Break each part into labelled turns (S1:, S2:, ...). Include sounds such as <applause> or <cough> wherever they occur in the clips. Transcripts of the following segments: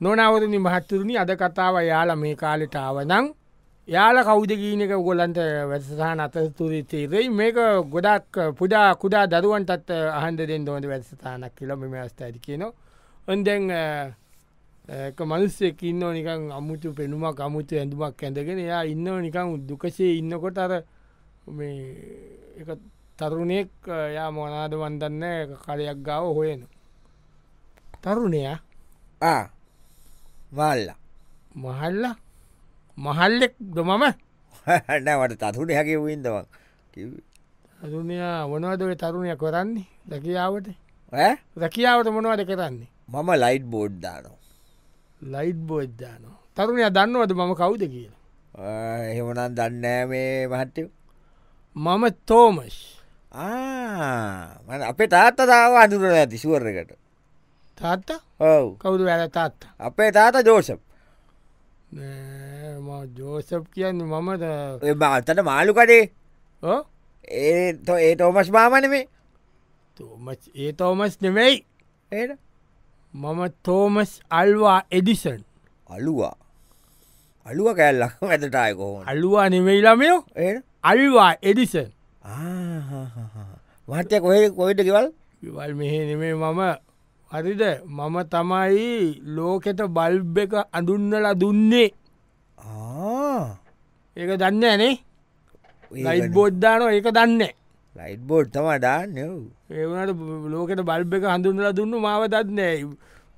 S1: නොනවරදි මහත්තුරුණි අද කතාව යාල මේ කාලෙටාවනං යාල කෞද ගීනක ගොලන්ට වැසසාහන අතතුරේ තේරෙයි මේක ගොඩක් පුඩා කුඩා දරුවන්ටත් අහන්දරෙන් දොට වැස්සථානක් කිලම මස්ත ඇති කියනවා ඔොන්දැන් මනුස්සෙක් ඉන්න නිකන් අමුතු පෙනුමක් අමුතු ඇඳුමක් ඇඳගෙන යා ඉන්න නිකං දුකසේ ඉන්නකොට අර මේ එක තරුණෙක් යා මොනාද වන්දන්න කලයක් ගාව හොයන තරුණයා
S2: මල්ලා <laughs>
S1: මහල්ල මහල්ලෙක් දොමම
S2: හන්නවට තතුට හැකි වන්දවක්
S1: තරුණයා මොනවදේ තරුණය කරන්නේ දැකියාවට රැකියාවට මොනවද කරන්නේ
S2: මම ලයිට් බෝඩ්දානෝ
S1: ලයිට් බෝද්ධානෝ තරුණය දන්නවද මම කවුද කියලා
S2: එහෙමනම් දන්නෑ මේ මහට්ටව
S1: මම තෝමස්
S2: මන අපේ තාත්තතාව අඳුරන ඇති සුවරකට
S1: තාත්තා
S2: ඔව
S1: කවුද වැල තාත්තා
S2: අපේ තාත ජෝසප්
S1: නෑ, මම ජෝසප් කියන්න මමද
S2: අතට මාලු කඩේ
S1: ඕ?
S2: ඒ ඒ තෝමස් බාමනමේ
S1: තෝමස් ඒ තෝමස් නෙමෙයි
S2: ඒ
S1: මම තෝමස් අල්වා එඩිසන්
S2: අලුවා අලුව කැල්ලක් <laughs> ඇතටාය කොහොන
S1: අල්වා නෙමෙයිලාමයෝ
S2: ඒ
S1: අල්වා එඩිසන්
S2: මහත්‍ය කොහ කොයිට කිවල්
S1: විවල් මෙහෙ නෙමේ මම හරිද මම තමයි ලෝකෙට බල්බ් එක අඳුන්නල දුන්නේ ඒක දන්න ඇනේ ලයිට් බෝද්ධාන ඒක දන්න
S2: ලයිට් බෝඩ් තම ඩාන්න
S1: ඒවනට ලෝකට බල්බ එක හඳුන්නල දුන්න මාව දත්නෑ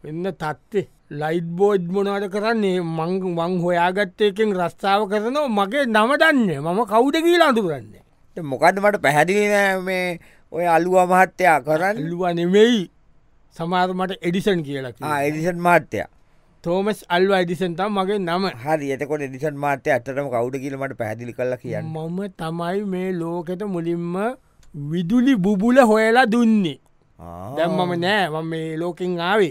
S1: වෙන්න තත්ත්ේ ලයිට් බෝඩ් මොනවට කරන්නේ මං වං හොයාගත්තයකෙන් රස්ථාව කරනවා මගේ නම දන්න මම කවුඩ කියලා අඳුරන්න
S2: මොකද මට පැහැදිලි නෑ මේ ඔය අලුවා මහත්තයා කරන්න
S1: ඇල්ලුව නෙමෙයි සමාරමට එඩිසන් කියලා
S2: එඩිසන් මාත්‍යය
S1: තෝමස් අල්වා ඇඩිසන්තම් මගේ නම
S2: හරි එතකොට එඩිසන් මාත්‍ය ඇතටම කවුඩ කියලමට පැහදිලි කල්ලා කියන්න
S1: මම තමයි මේ ලෝකෙට මුලින්ම විදුලි බුබුල හොයලා දුන්නේ දැම් මම නෑ මම මේ ලෝකෙන් ආවේ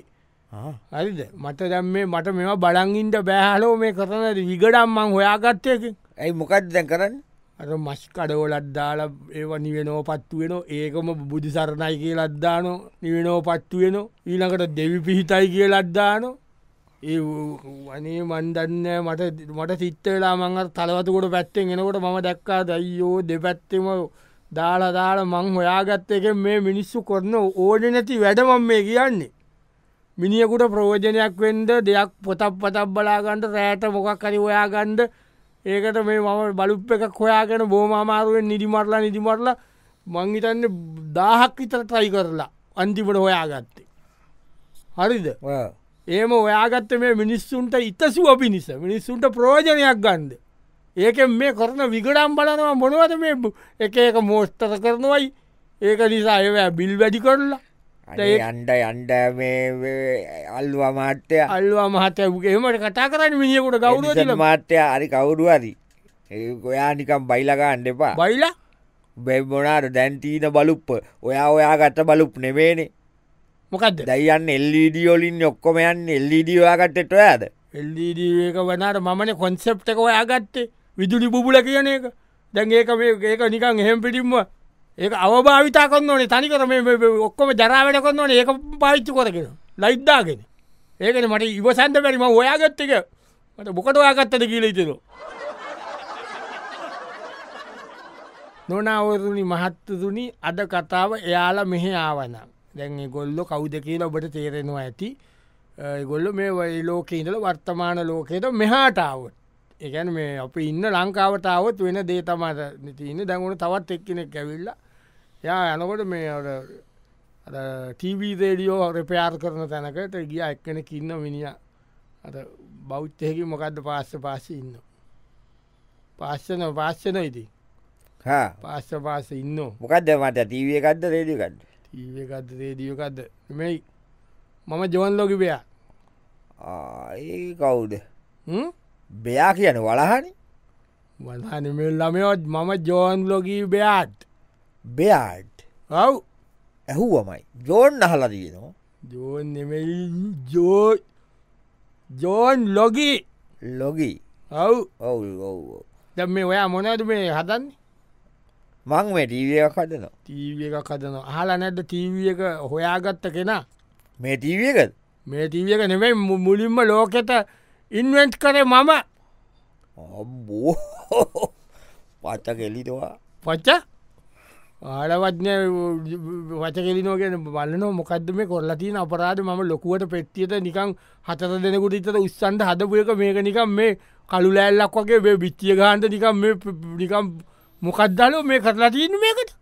S1: හරිද මට දැම් මේ මට මෙම බලංගින්ට බෑහලෝ මේ කරන විගඩම්මං හොයාගත්තයක
S2: ඇයි මොකක්ද දැන් කරන්න
S1: අර මස් කඩවලත් දාලා ඒව නිවෙනෝ පත්තු වෙන ඒකම බුදුසරණයි කිය ලද්දානො නිවෙනෝ පත්තු වෙන ඊළඟට දෙවි පිහිතයි කිය ලද්දානො ඒ වනේ මන්දන්න මට මට සිත්තවෙලා මං තලවතකොට පැත්තෙන් එනකොට මම දැක්කා දයියෝ දෙපැත්තෙම දාලා දාලා මං හොයාගත්ත එක මේ මිනිස්සු කරන ඕඩ නැති වැඩමම් මේ කියන්නේ මිනිියකුට ප්‍රෝජනයක් වෙන්ඩ දෙයක් පොතක් පතක් බලාගන්ඩ රෑට මොකක් හරි ඔයාගන්ඩ ඒකට මේ මම බලුප් එක කොයාගෙන බෝම අමාරුවෙන් නිදිමරලා නිදිමරලා මංහිතන්න දාහක් විතර ට්‍රයි කරලා අන්තිපට හොයාගත්තේ. හරිද ඒම ඔයාගත්ත මේ මිනිස්සුන්ට ඉතසුව පිණිස මිනිස්සුන්ට ප්‍රෝජනයක් ගන්ද. ඒක මේ කරන විගඩම් බලනවා මොනවද මේ බු- එක එක මෝස්තර කරනවයි ඒක නිසා ඒ බිල් වැඩි කරලා
S2: අනේ අන්ඩ අන්ඩ මේ අල්වා මාට්‍යය
S1: අල්වා මහතයගේමට කතා කරන්න මිනිියකුට ගෞරද
S2: මාට්‍යය හරි කවුරු හරි ඒ ඔයා නිකම් බයිලකා අන්න එපා
S1: බයිලා
S2: බැබොනාට දැන්ටීන බලුප්ප ඔයා ඔයා ගට බලුප් නෙමේනේ
S1: මොකක්ද
S2: දයියන් එල්ලිඩියෝලින් ඔක්කොමයන් එල්ලිඩියවාගටට ඔයාද
S1: එල්ඩක වනාට මමන කොන්සෙප් එක ඔයාගත්තේ විදුලි බුබුල කියන එක දැන් ඒක මේ- ඒක නිකන් එහෙම පිටිම්ම ඒක අවභාවිතා කොන්න ඕනේ තනිකර මේ- මේ- මේ ඔක්කොම ජරාවට කොන්න ඕන ඒක පාච්චි කොරගෙන ලයිද්දාගෙන ඒකන මට ඉවසන්ද පැරිම ඔයාගත්තක මට බොකට ඔයාගත්තද කියලීතරු නොනවරුණි මහත්තතුනි අද කතාව එයාල මෙහෙ ආවනම් දැන් ගොල්ලො කවුද කියලා ඔබට තේරෙනවා ඇති ගොල්ල මේ වයි ලෝකීඉඳල වර්තමාන ලෝකයට මෙහාටාවත් එකැන මේ අපි ඉන්න ලංකාවතාවත් වෙන දේතමට නතින්න දැඟුණ තවත් එක්කෙනෙක් ඇවිල්ලා යා යනකොට මේ ටීවී රේඩියෝ රෙපයාර් කරන තැනකට ගිය එක්කෙන කින්න මිනිිය බෞද්ධයකි මොකක්ද පාස්ස පාසි ඉන්න පාස්සන පාස්සන ඉති පාස්ස පාස ඉන්නවා
S2: මොකක්ද මට තීවිය එකක්ද රේඩිකන්න
S1: ටීවකක්ද රේඩියකක්ද මෙයි මම ජොවන් ලොකිපයා
S2: ඒ කවුද බයා කියන වලහනි
S1: වදනමල්ලමයොත් මම ජෝන් ලොකී බයාත්
S2: බයාඩ්
S1: ඔව්
S2: ඇහුවමයි ජෝන් අහලා දීනවා
S1: ජෝන් නෙමෙයි ජෝ ජෝන් ලොගී
S2: ලොගී
S1: ඔව්
S2: ඔවු ඔවෝ
S1: දැම් මේ ඔයා මොනද මේ හදන්න
S2: මං මේ ටීවිය කටනවා
S1: ටීව එක කදන හලා නැද්ද ටීව එක හොයාගත්ත කෙනා
S2: මේ ටීවියකද
S1: මේ ටීවක නෙමයි මු- මුලින්ම ලෝකෙත ඉන්වෙන්ට් කරේ මම
S2: අම්බෝ පත්ත කෙලිටවා
S1: පච්ච ආලවත්න වචකෙලිනෝගෙන බලන මොකක්ද මේ කොල්ලතින අපරාධ මම ලොකුවට පෙට්ටියට නිකං හතර දෙනකුට ඉතට උස්සන්ට හදපුයක මේක නිකම් මේ කළු ලෑල්ලක් වගේ මේ බිච්චිය ගහන්ට නිකම් මේ ප- ප- නිකම් මොකක්දලෝ මේ කරලාතිීන් මේකට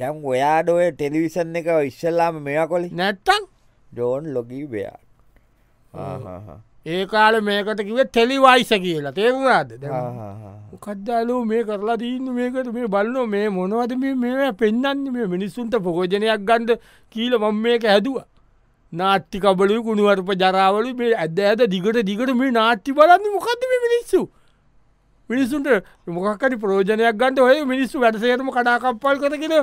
S2: දැම් ඔයාට ඔය ටෙලිවිසන් එක ඉස්සල්ලාම මෙයා කොලි
S1: නැත්තං
S2: ජෝන් ලොගී බයා
S1: ඒ කාල මේකට කිව තෙලිවයිස කියලා තේරුරාද කද්දාලෝ මේ කරලා දීන්න මේකට මේ බලන මේ මොනවද මේ මේ පෙන්න්න මේ මිනිස්සුන්ට පොකෝජනයක් ගන්ඩ කියීල මං මේක හැදවා නාට්ටිකබලු කුණුවරප ජරාවලු මේ ඇද ඇද දිගට දිගට මේ නාට්ටි බලන්න මොකක්ද මේ මිනිස්සු මිනිස්සුන්ට මොකක්කට ප්‍රෝජනයක් ගන්ට ඔය මිනිස්සු වැඩසේරම කඩාකප්පල් කරගෙන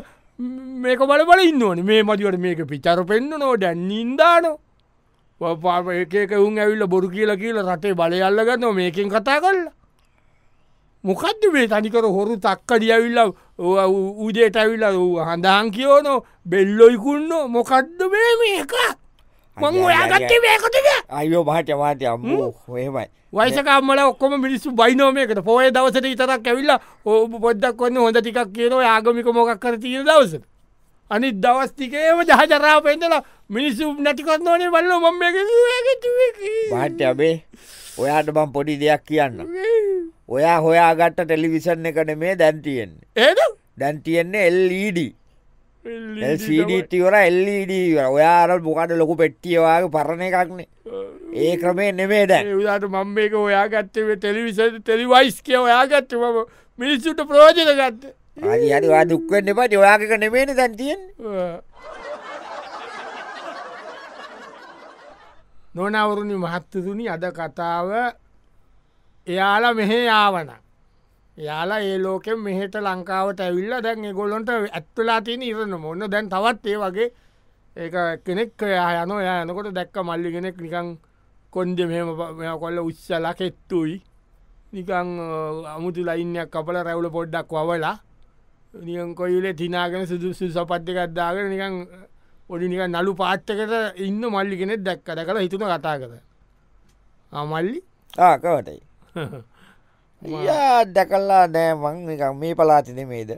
S1: මේක බල බල ඉන්න ඕන මේ මදිවට මේක පිචර පෙන්න්න නෝ දැන්නින්දානෝ පාප එකක උන් ඇවිල්ල බොරු කියලා කියල රටේ බලයල්ලගන්න මේකින් කතා කල්ලා මොකක්ද මේ තනිකර හොරු තක්කඩියවිල්ල උදේට ඇවිල්ල හඳහන් කියෝනෝ බෙල්ලොයිකුන්න මොකක්ද මේ මේක මං
S2: අයිය,
S1: ඔයාගත්තේ
S2: අයිය.
S1: මේකටද
S2: අයෝ මාට මාතය අම්මෝ හොයමයි
S1: වයිසකම්මල ඔක්කොම මිනිස්සු බයිනෝමයකට පොය දවසට ඉතරක් ඇවිල්ල ඕ පොද්දක් වන්න හොඳ ටිකක් කියනවා ආගමික මොකක් කර තියෙන දවස. අනි දවස්තිකේම ජහජරා පෙන්දලා මිනිස්සු නැටිකොත් ඕනේ බල්ල මොම්ම
S2: මාට්‍ය අබේ ඔයාට බම් පොඩි දෙයක් කියන්න ඔයා හොයාගත්ත ටෙලිවිසන් එකට මේ දැන්තියෙන්නේ
S1: ඒද
S2: දැන්තියෙන්නේ එල්ඩ එල්ඩතිවර එල්ඩ ඔයාර මොකට ලොකු පෙට්ටියවාගේ පරණ එකක්නේ ඒ ක්‍රමේ නෙමේ දැන්
S1: ඒදාට මං මේක ඔයා ගත්තේ තෙලිවිස තෙලිවයිස් කිය ඔයා ගත්ත ම මිනිස්සුට ප්‍රෝජන ගත්ත
S2: අනි අනිවා දුක්වෙන්න පට ඔයාක නෙමේන දැන්තියෙන්
S1: නොනවුරුණි මහත්තතුනි අද කතාව එයාල මෙහෙ යාවන යාලා ඒ ලෝකෙන් මෙහෙට ලංකාවට ඇවිල්ල දැන් ගොලොන්ට ඇත්තුලා තියෙන ඉරන්න මොන්න දැන් තවත් ඒ වගේ ඒ කෙනෙක් යා යන යා යනකොට දැක්ක මල්ලි කෙනෙක් නිකං කොන්ද මෙම කොල්ල උත්සල කෙත්තුයි නිකං අ, අමුතු ලයින්යක් කපල රැවුල පොඩ්ඩක් වවලා නියන් කොයිලේ තිනාගෙන සුදුසු සපට්ටි කත්දාගෙන නිකං පොඩි නික නලු පාට්ටකට ඉන්න මල්ලි කෙනෙක් දැක්ක දැකළ හිතුන කතා කර <laughs> අමල්ලි
S2: ආකවටයි යා දැකල්ලා නෑමං එක මේ පලාතින මේද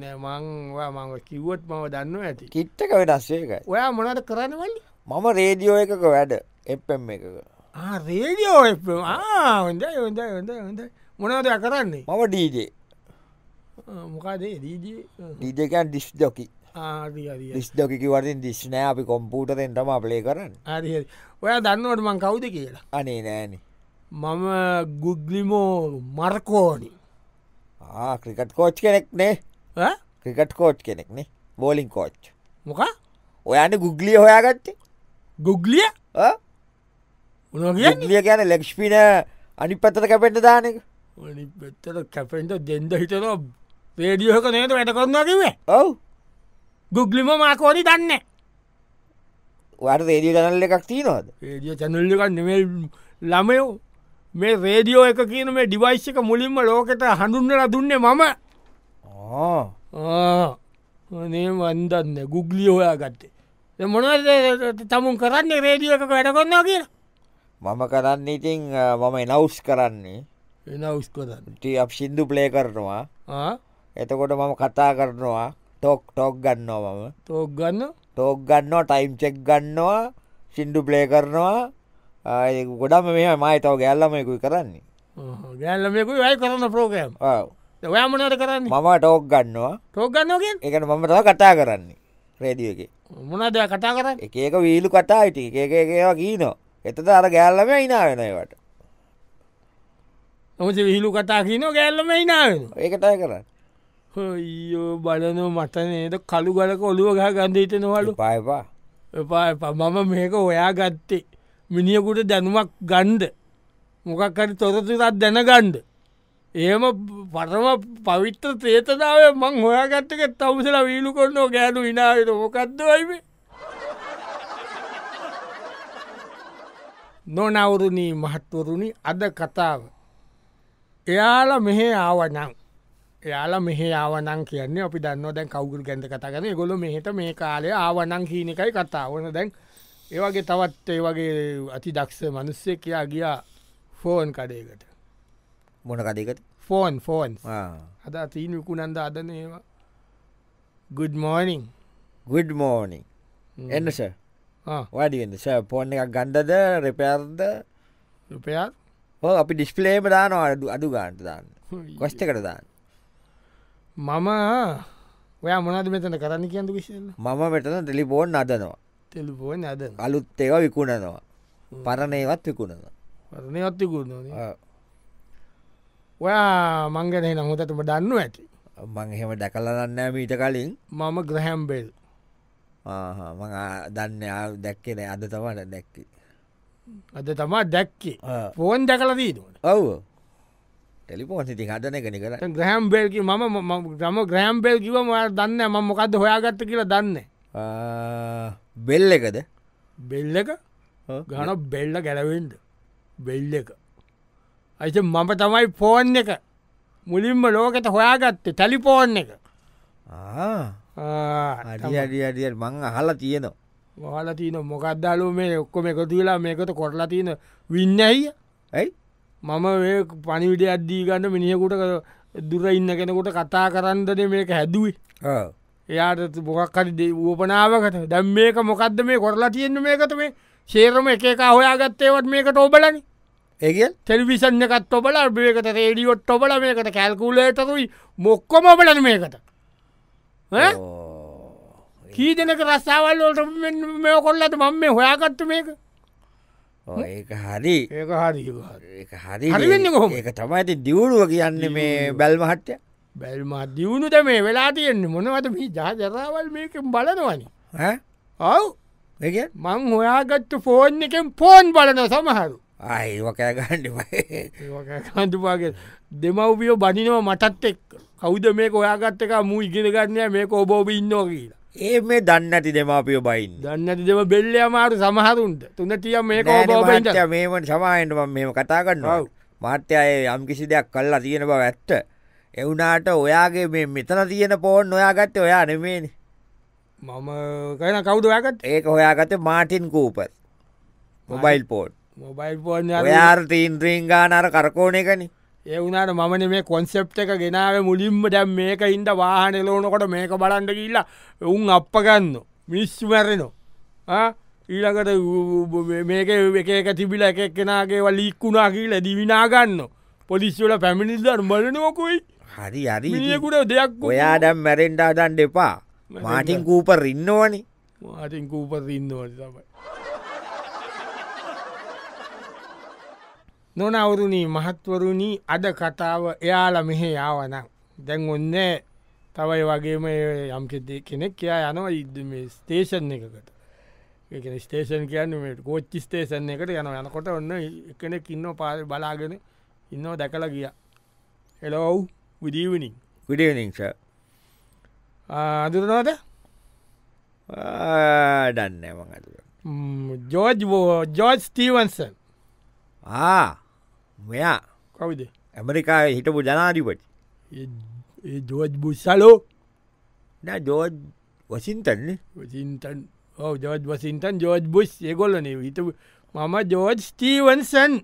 S1: නෑ මං ඔයා මං ඔය කිව්වොත් මව දන්න ඇති
S2: කිට්ටක වෙනස්සේකයි
S1: ඔයා මොනට කරන්න වල්ලි
S2: මම රේඩියෝ එකක වැඩ එම් එකක
S1: රේඩියෝ හොඳ හොඳ හොඳ හොඳ මොනවද ඔයා කරන්නේ
S2: මම ඩීජේ
S1: මොකාදේ දීජී
S2: ඩීජකන් ඩිස් ජොකි
S1: <laughs> ආදිරිය
S2: ඩිස් ජොකිකිවරින් දිස්්නෑ අපි කොම්පූටරෙන්ටම අපලේ කරන්න
S1: ආරි ඔයා දන්නවට මං කවුද කියලා
S2: අනේ නෑන
S1: මම Guglielmo Marconi
S2: cricket coach Ah, කෙනෙක් නේ
S1: ඈ?
S2: ක්‍රිකට් කෝට් කෙනෙක්නේ බෝලිින් කෝච්
S1: මොකා
S2: ඔයන්න ගුග්ලිය හොයාගත්තේ
S1: ගුග්ලිය උනො කිය
S2: ගුග්ලිය ගැන ලෙක්ෂ්පින අනි පත්තර කැපෙන්ට දානක
S1: ඔනි පෙත්තර කැපෙන්ට දෙන්ඩ හිතන පේඩියෝක නේට වැට කොන්නකිවේ
S2: ඔව
S1: ගුග්ලිම මාකෝනි දන්න
S2: වට රේඩිය ගනල්ල එකක් තිීනොද
S1: පේඩිය චැනල්ලික නෙමල් ළමයෝ මේ රේඩියෝ එක කියන මේ ඩිවයිශ්ක මුලින්ම ලෝකෙට හඳුන්නල දුන්නේ මම නේ වන්දන්න ගුග්ලිය හොයා ගත්තේ මොන තමුන් කරන්නේ රේඩියෝ එක වැඩ කොන්නා කියලා
S2: මම කරන්න ඉතින් අ, මම එනවස් කරන්නේ
S1: එන උස්කොදන්න
S2: ටී අප් සිින්දු ප්ලේ කරනවා එතකොට මම කතා කරනවා ටොක් ටොක් ගන්නවා මම
S1: තෝක් ගන්න
S2: ටෝක් ගන්නවා ටයිම් චෙක් ගන්නවා සිින්ඩු ප්ලේ කරනවා ආ, ඒ ගොඩම මේ මයි තව ගැල්ලමයකුයි කරන්නේ
S1: ගැල්ලමෙකු යයි කරන්න ප්‍රෝගෑම්
S2: ඔව්.
S1: ඔයා මොනට කරන්න
S2: මම ටෝක් ගන්නවා
S1: තෝක් ගන්නගෙන්
S2: එකන මම තව කතා කරන්නේ රේඩිය එක
S1: මොනද කතා කරන්න
S2: එක එක වීලු කතා ඉටි එක එක ඒවා කීනෝ එතද අර ගැල්ලම ඉනා වෙනවට
S1: නොමස විහිලු කතා කියනෝ ගැල්ලම ඉනාවෙන
S2: ඒකටය කරන්න
S1: හොයෝ බලනෝ මට නේද කළු ගලක ඔලුව ගහ ගන්ධ හිතනවලු
S2: පායපා
S1: එපා එපා මම මේක ඔයා ගත්තේ මිනිියකුට දැනුමක් ගන්ඩ මොකක්කට තොරතුරත් දැනගන්ඩ ඒම පරම පවිත්‍ර ත්‍රේතනාව මං හොයාගත්තක තවසල වීලු කොන්නෝ ගෑනු ඉනාවට මොකක්දවයිම නොනවුරුණී මහත්වරුණි අද කතාව එයාල මෙහෙ ආවනං එයාල මෙහෙ ආවනං කියන්නේ අපි දන්න දැන් කවුරු ගැඳ කතාගන ගොල මෙහට මේ කාලය ආවනං හීනකයි කතාවන දැන් ඒවගේ තවත් ඒ වගේ අති දක්ෂ මනුස්සය කියයා ගියා ෆෝන් කඩයකට
S2: මොන කදයකට
S1: ෆෝන් ෆෝන්
S2: ආ.
S1: අද තීන් විකුණන්ද අදන ඒවා ගුඩ් මෝනිං
S2: good morning එන්න ස වඩිෙන්ද ස පෝර්ණ එකක් ගණ්ඩද රෙපයර්ද
S1: රුපයක්
S2: හෝ අපි ඩිස්පලේම දානවා අඩු අඩු ගාන්ට දාන්න කොස්්ටකට දාන්න
S1: මම ඔය මොනද මෙතන කරන්න කියන්තු කිසිල්ල
S2: මම මෙටන ටෙලිබෝන් අදනවා
S1: තෙල්පෝන අද
S2: අලුත් ඒව විකුණනවා පරණේවත් විකුණනවා
S1: වරන ඔත්තිකුණ
S2: ආ.
S1: ඔයා මංගනය නහොතටම දන්නු ඇති
S2: මං එහෙම දැකලන්නෑ මීට කලින්
S1: මම ග්‍රහැම්බෙල්
S2: ආහා, මං ආ- දන්න ආ දැක්කෙන අද තමට දැක්කි
S1: අද තමා දැක්කේ
S2: ආ.
S1: පෝන් දැකලදී දන
S2: ඔව් ටෙලිපෝන් සිති හදන කෙන කර
S1: ග්‍රහම්බෙල්කි ම ම ග්‍රහම්බෙල් කිව ම දන්න ම මොකක්ද හොයාගත්ත කියලා දන්න
S2: බෙල් එකද
S1: බෙල්ල එක ගන බෙල්ල ගැලවෙන්ට බෙල්ල එක අයිස මම තමයි පෝන් එක මුලින්ම ලෝකෙත හොයාගත්තේ ටැලිපෝන් එක
S2: අඩිය අඩිය අඩිය මං අහලා තියෙනවා
S1: වාලතින මොකක්දාලු මේ ඔක්කොම එකතු වෙලා මේකත කොටලා තියෙන වින්න ඇයිය
S2: ඇයි
S1: මම මේ පනිවිට අද්දී ගන්න මිනිියකුට දුර ඉන්න කෙනකොට කතා කරන්දන මේක හැදුවේ
S2: ආ.
S1: එයාට මොකක්කරි වූපනාවකට දැම් මේක මොකක්ද මේ කොරලා තියෙන මේකත මේ සේරම එක එක හොයාගත්තේවත් මේකට ඔබලනි
S2: ඒගල්
S1: තෙල්විසන්න එකත් ඔබල මේකට රේඩියොට් ඔබල මේකට කැල්කුලේටරුයි මොක්කොම ඔබලන මේකට ඈ? කී දෙනක රස්සාවල්ලට මේ කොල්ලට මම මේ හොයාගත්ත මේක
S2: ඒක හරි
S1: ඒක හරි හරි.
S2: ඒක හරි
S1: හරි වෙන්නේ කොහොමද?
S2: ඒක තමයිති දියුණුව කියන්න මේ බැල්මහට්ටය
S1: බැල්මත් දියුණුද මේ වෙලා තියෙන්නේ මොනවද මේ ජාජරාවල් මේකෙන් බලනවනි ඔව්
S2: ඒක
S1: මං හොයාගත්ත ෆෝන් එකෙන් පෝන් බලන සමහරු
S2: ආයිවකෑ ගණ්ඩ
S1: කඳුපාගේ දෙමව්පියෝ බනිනව මටත් එක් කෞද මේ ඔයාගත්ත එක මූ ඉගෙනගන්නය මේක ඔබෝබ ඉන්නෝ කියලා
S2: <laughs> ඒ මේ දන්න ඇති දෙමාපිය බයින්
S1: දන්න ඇති දෙම බෙල්ල අමාරු සමහරුන්ට තුන්න තිය මේක ඔබෝබට
S2: මේමට සමාහෙන්ට මෙම කතා කරන්න
S1: ඔව්.
S2: මාත්‍යය යම් කිසි දෙයක් කල්ලා තියෙන බව ඇත්ත එවුනාට ඔයාගේ මේ මෙතන තියෙන පෝන් ඔයාගත්ත ඔයා නෙමේන
S1: මම කන කවුද ඔයාගත්
S2: ඒක හොයාගත Martin Cooper mobile port
S1: mobile phone
S2: ඔයාර් තීන්ද්‍රීන් ගානාර කරකෝන එකන
S1: ඒ වුණට මමන මේ කොන්සෙප් එක ගෙනාව මුලින්ම දැම් මේක ඉන්ද වාහනෙලෝනකොට මේක බලන්ඩ කියලා උන් අප ගන්න මිස්සු මැරෙනවා ඊළකට මේක එක එක තිබිල එක කෙනගේ වලික්කුණා කියල දිවිනා ගන්න පොලිස්වල පැමිණිල්දර් මලනෝකුයි
S2: හරි හරි ඉතින්.
S1: මිියකුට දෙයක්
S2: ඔයා ඩම් මැරෙන්ඩා දන් දෙපා මාටින් කූපර් ඉන්නවනි
S1: මටින් කූපත ඉන්නවට තමයි නොන අවුරුණී මහත්වරුණී අද කතාව එයාල මෙහෙ යාවනම් දැන් ඔන්න තවයි වගේම යම් කෙදේ කෙනෙක් කියයා යනවා ඉද මේ ස්ටේෂන් එකකට ඒකන ස්ටේෂන් කියන්න කෝච්චි ස්ටේෂන් එකට යන යනකොට ඔන්න එකනෙක් ඉන්න පාර බලාගෙන ඉන්නෝ දැකලා ගිය එලෝව් විදීවනිින්
S2: විඩියනිංස
S1: අදුරනවාද
S2: දන්න මඟද
S1: ජෝජ් බෝ ජෝජ් ස්ටීවන්සන්
S2: ආ මෙයා
S1: කවිද
S2: ඇමරිකාය හිටපු ජනාධිපටි
S1: ජෝජ් බුස්සලෝ
S2: ජෝජ් වසින්තන්නේ
S1: සිින්ටන් ඕ ජෝජ් වසින්ටන් ජෝජ් බුස් ඒගොල්ලන හිත මම ජෝජ් ස්ටීවන්සන්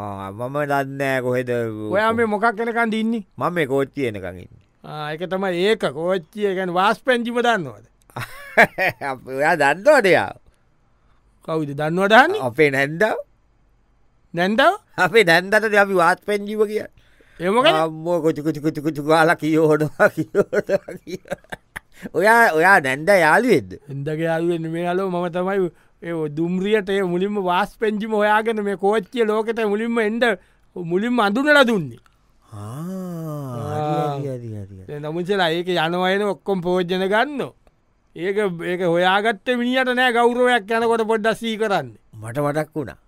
S2: මම දන්නෑ කොහෙද
S1: ඔයා මේ මොකක් කනකන් දින්නේ
S2: මම මේ කෝච්චියනකඟින්
S1: ආ, ඒක තමයි ඒක කෝච්චිය ගැන වාස් පැංචිම දන්නවද
S2: <laughs> ඔයා දන්නවටයා
S1: කවුද දන්නවටහන්න
S2: අපේ නැන්ද
S1: නැන්දව
S2: අපේ නැන්දට අපි වාත් පෙන්ජිව කිය
S1: එමක
S2: අම්මෝ කොචිකුචිකුචිකුචු ගාලා කියෝඩවා කියෝට ඔයා ඔයා නැන්ද යාලුවෙද
S1: එදගේ අලුවෙන් මේ අලෝ මම තමයි ඒ දුම්රියට ඒ මුලින්ම වාස් පෙන්චිම ඔයාගෙන මේ කෝච්චිය ලෝකෙත මුලින්ම එන්ඩ මුලින්ම අඳුනල දුන්නේ නමුසලා ඒක යනවයන ඔක්කොම් පෝජ්ජන ගන්න ඒක ඒක හොයාගත්ත මිනිට නෑ ගෞරවයක් යනකොට පොඩ්ඩ සී කරන්න
S2: මට වටක් වුණා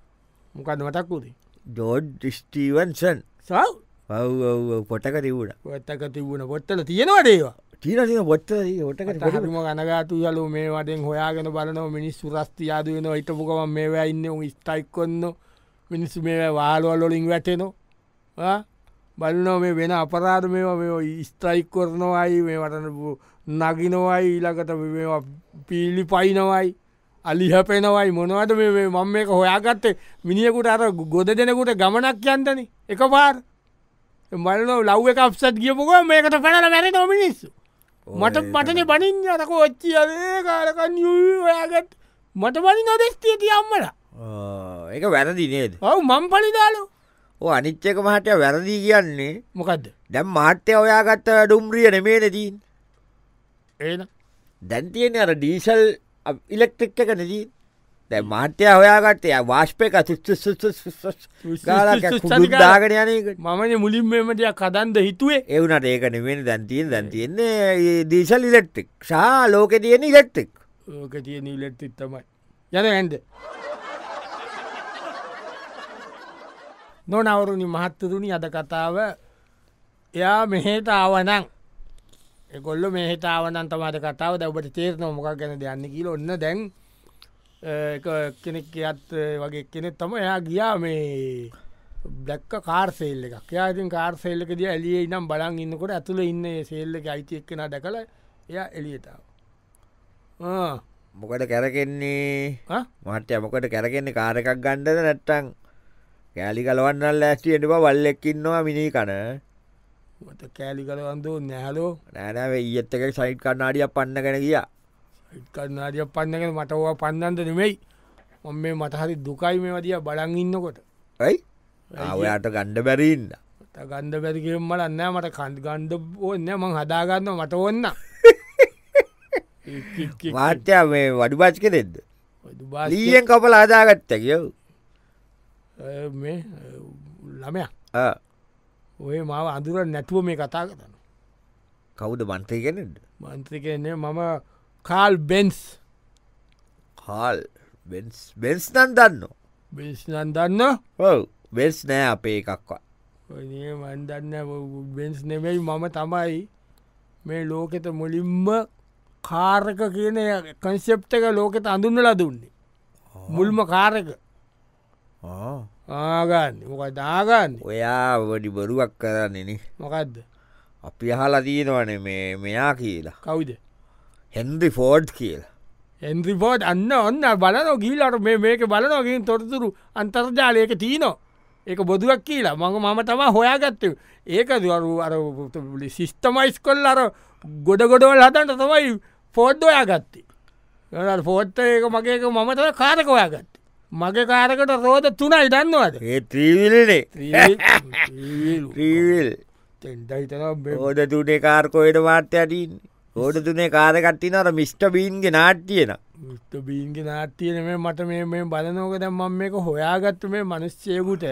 S1: මොකද මතක්කුදේ
S2: ජෝඩ් ස්ටීවන්සන්
S1: සව්
S2: පව් පොටක තිවුණ
S1: ඔත්තක තිබුණ පොත්තල තියෙනවඩේවා
S2: චීනතින පොත්ත ොටකට
S1: හරිම ගනගාතු යලු මේ වටෙන් හොයාගෙන බලනව මිනිස්සු රස්තියාද වෙන හිටපුකම මේවා ඉන්න උන් ස්ටයික් කොන්න මිනිස්සු මේ වාලුවල්ලොලින් වැටෙනවා බලනෝ මේ වෙන අපරාධ මේවා මේ ස්ට්‍රයික් කරනවයි මේ වටන නගිනවයි ඊළඟට මේවා පීලි පයිනවයි අලිහපෙනවයි මොනවද මේ මම මේක හොයාගත්තේ මිනිියකුට අර ගොඩ දෙනකුට ගමනක් යන්තන එක පාර් මල්ලෝ ලව් එක අප්සත් ගියපුක මේකට පැනල වැැර නොමිනිස්සු මට පටන පනින් අතක ඔච්චියදේ කාරකන් ඔයාගත් මට පනි නොදෙස්තිය තියම්මල
S2: එක වැරදි නේද
S1: ඔව මං පලිදාලු
S2: ඕ අනිච්චක මහටය වැරදි කියන්නේ
S1: මොකක්ද
S2: දැම් මාට්‍ය ඔයාගත්ත ඩුම්රිය නෙමේනදීන්
S1: ඒන
S2: දැන්තියෙන අර ඩීසල් ඉලෙක්ට්‍රික් එක නදී දැ මාට්‍යය හොයාගත්තය වාශ්පය එක දාගෙන යනක
S1: මමන මුලින් මෙමටය කදන්ද හිතුවේ
S2: එවුනට ඒක නෙවෙන දැන්තියෙන් දැන්තියන්නේ දීසල් ඉලෙක්ට්‍රික් ශා ලෝක තියෙන ඉලෙක්ට්‍රික්
S1: ඕක තිය නිලෙට්ටිත් තමයි යන ඇන්ද නොනවරුණි මහත්තතුනි අද කතාව එයා මෙහෙතාවනං එකොල්ල මෙහතාවනන් තමාට කතාව දැවට තේරන මොකක් ගැන දෙයන්න කියල ඔන්න දැන් අ, එක කෙනෙක් අත් වගේ කෙනෙක් තම එයා ගියා මේ බ්ලක්ක කාර්සේල්ල එකක් යාතින් කාර්සේල්ලක දිය එලිය ඉනම් බලන් ඉන්නකොට ඇතුළ ඉන්න ඒ සේල්ල එක අයිති එක්කෙන දැකළ එය එලියතාව
S2: මොකට කැරකෙන්නේ මට්‍ය මොකට කැරකෙන්නේ කාරකක් ගණ්ඩද නැට්ටං කෑලි කලවන්නල් ඇස්ටියෙන්ට වල්ලෙක්කින්නවා මිනි කන
S1: මත කෑලි කලවන්දෝ නැහලෝ
S2: නෑනෑ ඒත්තක සයිට් කන්නාඩිය පන්න කෙන කිය
S1: කන්නාරිය පන්නගෙන මටවා පන්නන්ද නෙමෙයි ඔොම මේ මටහරි දුකයි මේ වදිය බලන් ඉන්නකොට
S2: යි ඔයාට ගණ්ඩ බැරීන්න
S1: මට ගන්ධ පැතිකිරම් මලන්න මට කන්ද ගන්ඩ ඕන්න මං හදාගන්න මට ඔන්න
S2: මාට්‍ය මේ වඩු බච් කෙරෙද්ද ලීයෙන් කපල ආදාගත්ත කියව්
S1: මේ ළමය ඔය මාව අඳුර නැතුව මේ කතා කරන්න
S2: කවුද මන්තය කෙනෙට
S1: මන්ත්‍රිකන්නේ මම කාල් බෙන්ස්
S2: හාල් බෙන්ස් බෙන්ස් නන් දන්න
S1: බිස්නන් දන්න
S2: ඔව වෙස් නෑ අපේ එකක්වා
S1: මන්දන්න බෙන්ස් නෙමෙයි මම තමයි මේ ලෝකෙත මුලින්ම කාරක කියන කන්සෙප්ට එක ලෝකෙත අඳුන්නලා දුන්නේ මුල්ම කාරක ආගන්න මොක දාගන්න
S2: ඔයා වඩි බොරුවක් කරන්නේන
S1: මොකක්ද
S2: අපි අහලා දීනවන මේ මෙයා කියලා
S1: කවුද
S2: හෙන්දි ෆෝඩ් කියලා
S1: එන්ද්‍රිපෝට් අන්න ඔන්න බලනෝ ගීලට uh, මේ මේක බලනොගින් තොරතුරු අන්තර්ජාලයක තියනෝ ඒක බොදුවක් කියලා මඟ මම තමා හොයාගත්ත ඒක දරු අර ලි සිිස්ටමයිස් කොල් අර ගොඩගොඩවල් හතන්ට තමයි පෝඩ් ඔයාගත්තේ පෝට්ට ඒක මගේ මමත කාරක ඔයාගත්ත මගේ කාරකට රෝධ තුනයි දන්නවාද
S2: ඒ ත්‍රීවිල්නේ ත්‍රීවිල්
S1: තෙන්ටයිතන
S2: හෝඩ තුනේ කාර්කෝයට මාර්්‍යයටන් හෝඩ තුනේ කාරකට්ටි නර මිස්ට බීන්ගේ නාට්‍යයන
S1: ට බීන්ග නාට්‍යයන මේ මට මේ මේ බලනෝක දැම් මම මේක හොයාගත්ත මේ මනුස්්‍යයකුට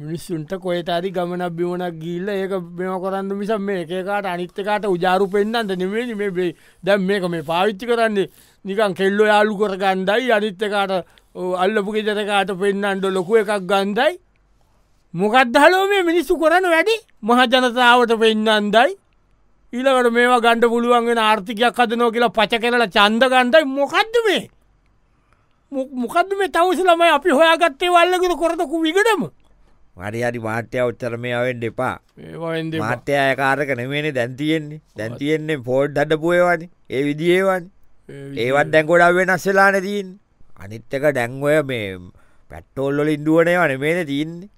S1: මිනිස්සුන්ට කොයතරි ගමන බිමනක් ගිල්ල ඒක මෙම කරන්න මිස මේ එකකාට අනිත්තකාට උජාරු පෙන්න්නන්ට නෙමේ මේ බේ දැම් මේක මේ පාවිච්චි කරන්නේ නිකන් කෙල්ලෝ යාලු කර ගණ්ඩයි අනිත්තකාට අල්ලපුගෙ ජනකාට පෙන්න්නන්ට ලොකු එකක් ගන්දයි මොකක්දහලෝ මේ මිනිස්සු කරන වැඩි මහජනතාවට පෙන්න්නන්දයි ඊළකට මේවා ගණ්ඩ පුළුවන්ගෙන ආර්ථිකයක් හදනෝ කියලා පච කරලා චන්ද ගණ්ඩයි මොකක්ද මේ මො- මොකක්ද මේ තවස ළමයි අපි හොයාගත්තේ වල්ලගෙන කොරතකු විගටම
S2: හරි හරි මාට්‍ය උත්තරමයාවෙන් දෙපා
S1: ඒවාද
S2: මාත්‍යය කාරක නෙමේනේ දැන්තියෙන්නේ දැන්තියෙන්නේ පෝඩ් හට පුයවන් ඒ විදිඒවන් ඒවත් දැන්කොඩා වෙනස් වෙලාන තින් අනිත්තක ඩැංවය මේ පැට්ටෝල්ලොල ඉදුවනයවන මේන තියන්නේ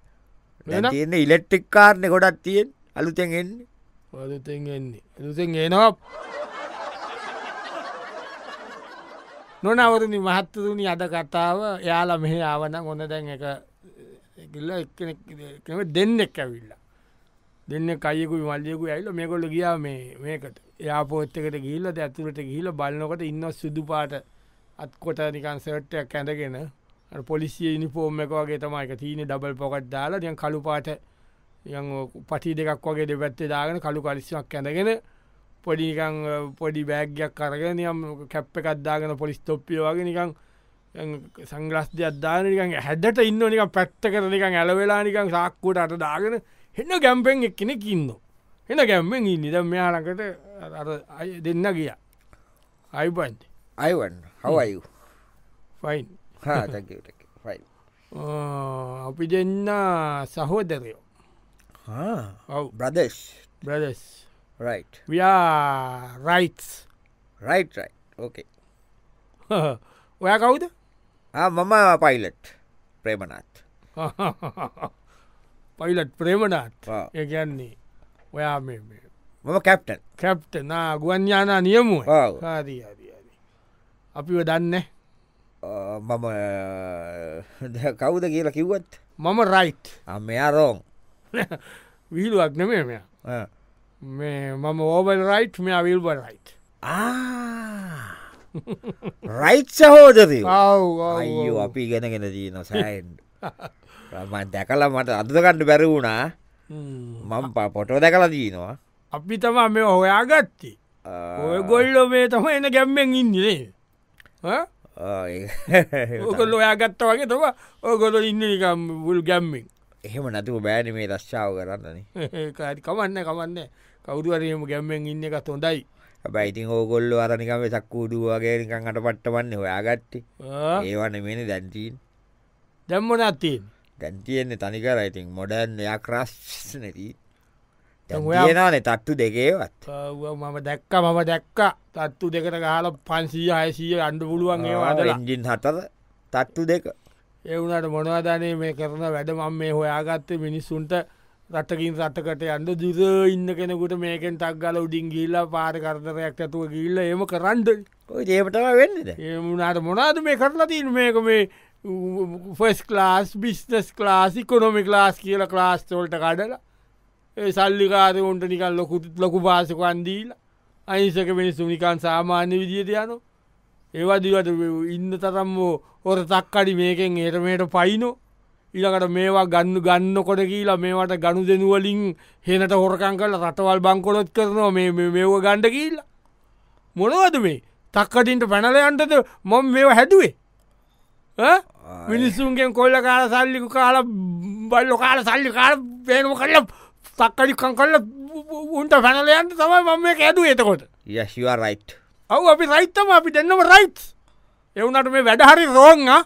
S1: වෙන?
S2: තියන්න ඉලෙක්ට්‍රික් කාරණය ගොඩක් තියෙන් අලුතෙන්ෙන්
S1: වදතෙන්න්නේ එතුසෙන් ඒනවා නොනවරනි මහත්තතුනි අද කතාව යාල මෙහි ආවන ගොඳ දැන් එක ගිල්ල එක්කෙනෙක්ම දෙන්නෙක් ඇවිල්ලා දෙන්න කයකු මල්ලියකු ඇල්ල මේකොල ගියා මේ මේකට යාපෝත්තකට ගිල්ල ඇතුළට ගිහිල බලනොකට ඉන්න සුදු පාට අත්කොට නිකන් සර්ට්ටයක් ඇඳගෙන අර පොලිසිය ඉනිපෝර්ම් එක වගේ තමයික තියන ඩබල් පොකට් දාලා තියන් කළු පාට යන් පටි දෙකක් වගේ දෙපැත්තේ දාගෙන කළු කලිසිමක් ඇඳගෙන පොඩිකං පොඩි බෑග්යක් කරගෙන යම් කැප්ප එකත්දාගෙන පොලිස් තොප්පිය වගේ නිකං සංග්‍රස් අධානකන් හැඩට ඉන්න නික පැත්ත කර නිකං ඇලවෙලා නිකං සාක්කුවට අට දාගෙන හෙන්න ගැම්පෙන් එක්කෙනෙ ඉන්න හෙන ගැම්පෙන් ඉන්න ද මෙයාලකට අර අය දෙන්න ගිය අයිපන්ට
S2: අයිවන් හවයු
S1: ෆයින්
S2: Ah, හාතකට ෆයි
S1: අපි දෙන්න සහෝදරයෝ ඔව්
S2: බ්‍රදශ්
S1: බ්‍රදස්
S2: රයි
S1: වයා රයිටස් <laughs>
S2: රයිට් රයි ඕකේ
S1: ඔය කවුද <laughs>
S2: මම පයිලට් ප්‍රේමණත්
S1: පයිලට් ප්‍රේමණත්
S2: ආ.
S1: ඒගැන්නේ ඔයා මේ මේ
S2: මම කැප්ටන්
S1: කැප්ට නා ගුවන් යානා නියමුව
S2: ආව්.
S1: හරි හරි හරි. අපිව දන්න
S2: මම දැ- Ah, <laughs> කවුද කියලා කිව්වත්
S1: මම රයිට්
S2: ආ, මෙයා රෝන්
S1: විහිලුවක් නෙමේ මෙ
S2: Ah.
S1: මේ මම ඕබල් රයිට් මෙ අවිල්බ රයිට්
S2: Ah. රයිට් සහෝදරය අයෝ
S1: අයෝ
S2: අපි ඉගෙනගෙන දීන සයින් මන් දැකල මට අදකණ්ඩ බැරි වුණා මම ප- පොටෝ දැකලා දීනවා
S1: අපි තමා මේ හොයා ගත්ති
S2: ආ,
S1: ඔය ගොල්ලෝ මේ තම එන ගැම්මෙන් ඉන්නේ
S2: ආ, Ah, ඒ- <laughs>
S1: ඕකොල් ඔයා ගත්ත වගේ තම ඕගොල ඉන්න නිකම් බුල් ගැම්මෙන්
S2: එහෙම නැතුව බෑන මේ රශ්ාව කරන්නන
S1: ඇති කමන්න කමන්න කවුරුවරයම ගැම්මෙන් ඉන්න එක හොඳයි
S2: බැයිතින් ඕගොල්ල අරනිකම සක්කූඩුවගේ නිකන් අට පට්ටවන්න හොයාගත්ති ඒවන මෙනි දැන්ටීන්
S1: දැම්මන අත්තයෙන්
S2: දැන්තියෙන්නේ තනිකර ඉතින් මොඩන් එයා ක්‍රස්් නැති
S1: දැන් ඔයා-
S2: යනානේ තට්ටු දෙකේවත්
S1: මම දැක්ක මම දැක්ක තත්තු දෙකට ගහල පන්සීය හයසීය අන්ඩ පුළුවන් ඒවාදලා
S2: ඉජින් හතර තට්ටු දෙක
S1: ඒවුනට මොනවදනේ මේ කරන වැඩ මම් මේ හොයාගත්තේ මිනිස්සුන්ට රටකින් රටකට අන්ඩ දුර ඉන්න කෙනෙකුට මේකෙන් තක් ගල උඩින් ගිල්ල පාර කරතරයක් ඇතුව ගිල්ල එම කරන්ඩ
S2: ඔය ඒමටම වෙන්නද
S1: ඒමුණට මොනාද මේ කරලා තින් මේක මේ ෆස් ලාස් බිස්නස් ලාසි කොනොමි ලාස් කියල ලාස්තෝල්ට කඩලා ඒ සල්ලිකාර උන්ට නිකල් ලොකුත් ලොකු පාසකන්දීල අනිසක මිනිස්සු නිකන් සාමාන්‍ය විදියට යනු ඒවදිවට ඉන්න තරම් හොර තක්කඩි මේකෙන් ඒරමයට පයිනෝ ඉලකට මේවා ගන්න ගන්න කොට කියලා මේවට ගණු දෙනුවලින් හෙනට හොරකං කල රටවල් බංකොලොත් කරනවා මේ මේ- මේව ගණ්ඩ කියලා මොනවද මේ තක්කටින්ට පැනලයන්ටද මොම් මේව හැදුවේ ඈ? මිනිස්සුන්ගෙන් කොල්ල කාල සල්ලිකු කාල බල්ලො කාල සල්ලි කාල පේනුව කරල තක්කඩිකං කල්ල උන්ට පැනලයන්ට තමයි මම මේ ඇදුව එතකොට
S2: යශවා රයිට්
S1: ඔව අපි රයිත්තම අපි දෙන්නම රයිට් එවුනට මේ වැඩහරි රෝං ආ.